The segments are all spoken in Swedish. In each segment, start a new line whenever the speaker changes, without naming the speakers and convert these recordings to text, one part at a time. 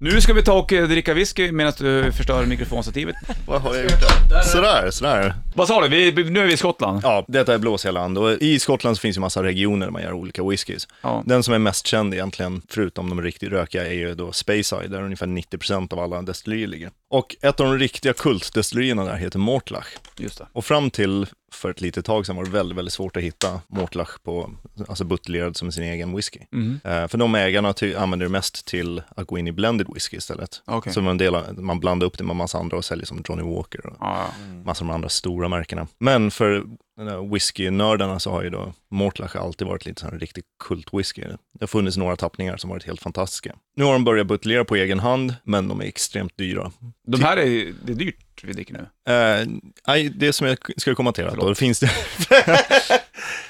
Nu ska vi ta och eh, dricka whisky medan du förstör mikrofonstativet.
Vad har jag gjort där? Sådär, sådär.
Vad sa du? Vi, vi- nu är vi i Skottland.
Ja, detta är blåsiga land och i Skottland så finns ju massa regioner där man gör olika whiskys.
Ja.
Den som är mest känd egentligen, förutom de riktigt rökiga, är ju då Speyside, där ungefär 90% av alla destillerier ligger. Och ett av de riktiga kultdestillerierna där heter Mortlach.
Just det.
Och fram till för ett litet tag sedan var det väldigt, väldigt svårt att hitta Mortlach på, alltså buteljerad som sin egen whisky.
Mhm.
Eh, för de ägarna ty- använder det mest till att gå in i blended whisky istället.
Okej.
Så man, delar, man blandar upp det med massa andra och säljer som Johnny Walker och
Ja,
massor av de andra stora märkena. Men för den här whiskynördarna så har ju då Mortlach alltid varit lite sån här riktig kultwhisky. Det har funnits några tappningar som varit helt fantastiska. Nu har de börjat buteljera på egen hand, men de är extremt dyra.
de här är, det är dyrt vi dricker nu.
Eh, nej, det som jag ska komma till, är att då, det finns det,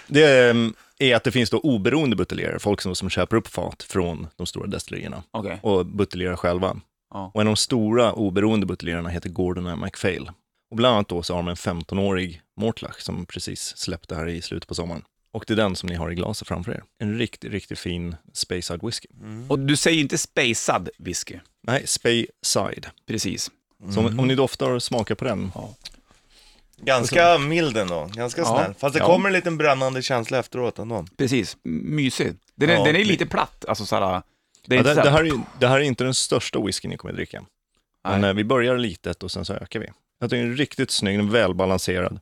det eh, är att det finns då oberoende buteljerare, folk som, som köper upp fat från de stora destillerierna
Okej.
och buteljerar själva.
Ja.
Och en av de stora oberoende buteljerarna heter Gordon och MacPhail. Och bland annat då så har de en 15-årig Mortlach som precis släppte här i slutet på sommaren. Och det är den som ni har i glaset framför er. En riktigt, riktigt fin Speyside whisky.
Och du säger inte spejsad whisky.
Nej, Speyside.
Precis.
Så om, om ni doftar och smakar på den.
Ganska mild ändå, ganska
Ja.
snäll. Fast det
Ja.
kommer en liten brännande känsla efteråt ändå.
Precis. Mysig. Den är,
Ja.
den är lite platt, alltså såhär. Det är
Ja,
inte
det,
så
det, här är, ju- det här är inte den största whiskyn ni kommer att dricka. Men
Nej.
eh, vi börjar litet och sen så ökar vi. Jag tycker den är riktigt snygg, den är välbalanserad.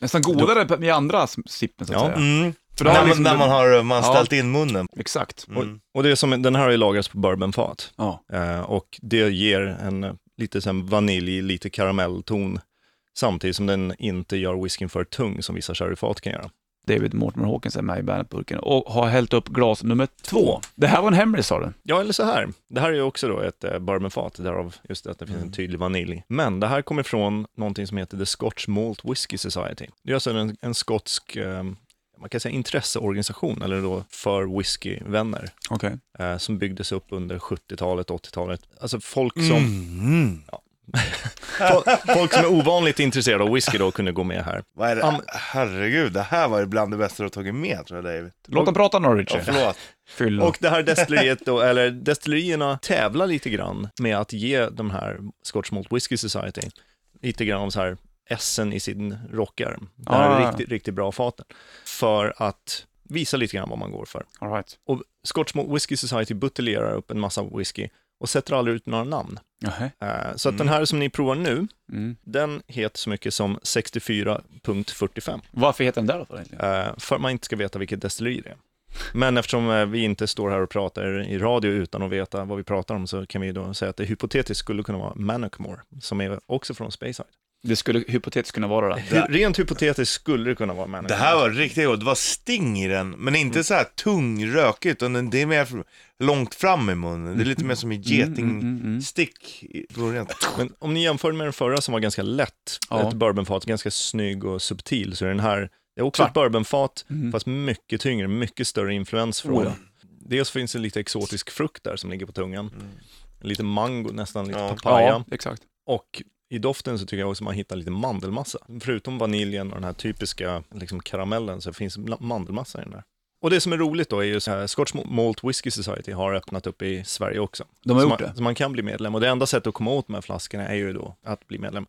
nästan godare än i andra sippen så att
Ja.
säga.
Mm.
För då har
När, man,
liksom-
när man har eh, man
Ja.
ställt in munnen.
Exakt.
Mm.
Och, och det är som, den här har ju lagrats på bourbonfat.
Ja.
Eh, och det ger en eh, lite sen vanilj, lite karamellton, samtidigt som den inte gör whiskyn för tung som vissa sherryfat kan göra.
David Mortimer Hawkins är med i Bandetburken och har hällt upp glas nummer två. Det här var en hemlis sa du?
Ja, eller så här. Det här är ju också då ett eh, bourbonfat, därav just att det finns en tydlig vanilj. Men det här kommer från någonting som heter The Scotch Malt Whisky Society. Det är alltså en, en skotsk, eh, man kan säga intresseorganisation, eller då för whiskyvänner,
Okej.
eh, som byggdes upp under 70-talet, 80-talet. Alltså folk som
Mm.
Fol- Folk som är ovanligt intresserade av whisky då kunde gå med här.
Vad är det?
Am-
Herregud, det här var ju bland det bästa du har tagit med tror jag David.
Låt dem prata nu
Ja,
Richard.
förlåt.
Fylla.
Och det här destilleriet då, eller destillerierna tävlar lite grann med att ge de här Scotch Malt Whisky Society lite grann om så här essen i sin rockarm. Det här
Ah.
är riktigt, riktigt bra faten. För att visa lite grann vad man går för.
All right.
Och Scotch Malt Whisky Society buteljerar upp en massa whisky och sätter aldrig ut några namn.
Jaha.
Eh, Så att
Mm.
den här som ni provar nu,
Mm.
den heter så mycket som 64.45.
Varför heter den där då för egentligen?
Eh, för att man inte ska veta vilket destilleri det är. Men eftersom eh, vi inte står här och pratar i radio utan att veta vad vi pratar om så kan vi då säga att det hypotetiskt skulle kunna vara Manicmore, som är också från Speyside.
Det skulle hypotetiskt kunna vara det.
Hy- Rent hypotetiskt skulle det kunna vara Manicmore.
Det här var riktigt gott, det var sting i den, men
Mm.
inte så här tung rökigt, utan det är mer fr- långt fram i munnen. Det är lite mer som i
mm, mm.
getingstick. i-
Men om ni jämför med den förra som var ganska lätt,
Ja.
ett bourbonfat, ganska snygg och subtil, så är den här, det är också ett bourbonfat,
mm.
fast mycket tyngre, mycket större influens från.
Oh ja.
Dels finns det lite exotisk frukt där som ligger på tungan, lite mango, nästan lite
Ja.
papaya.
Mm. Ja, exakt.
Och i doften så tycker jag också man hittar lite mandelmassa. Förutom vaniljen och den här typiska liksom, karamellen så finns la- mandelmassa i den där. Och det som är roligt då är ju att Scotch Malt Whisky Society har öppnat upp i Sverige också.
De har
så
gjort
man,
det.
Så man kan bli medlem och det enda sättet att komma åt de här flaskorna är ju då att bli medlem.
Är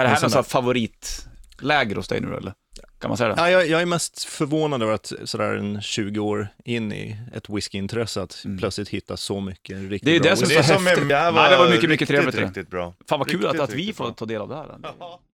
det
Men
här
sen-
någon sån här favoritläger hos dig nu eller? Kan man säga det?
Ja, jag, jag är mest förvånad över att sådär en 20 år in i ett whiskyintresse att
Mm.
plötsligt hitta så mycket riktigt
Det är det
bra
som
whisky.
är så häftigt.
här
Nej, det var mycket, mycket trevligt det.
Riktigt, riktigt bra.
Fan vad kul
Riktigt,
att, att vi
riktigt
får
bra.
ta del av det här.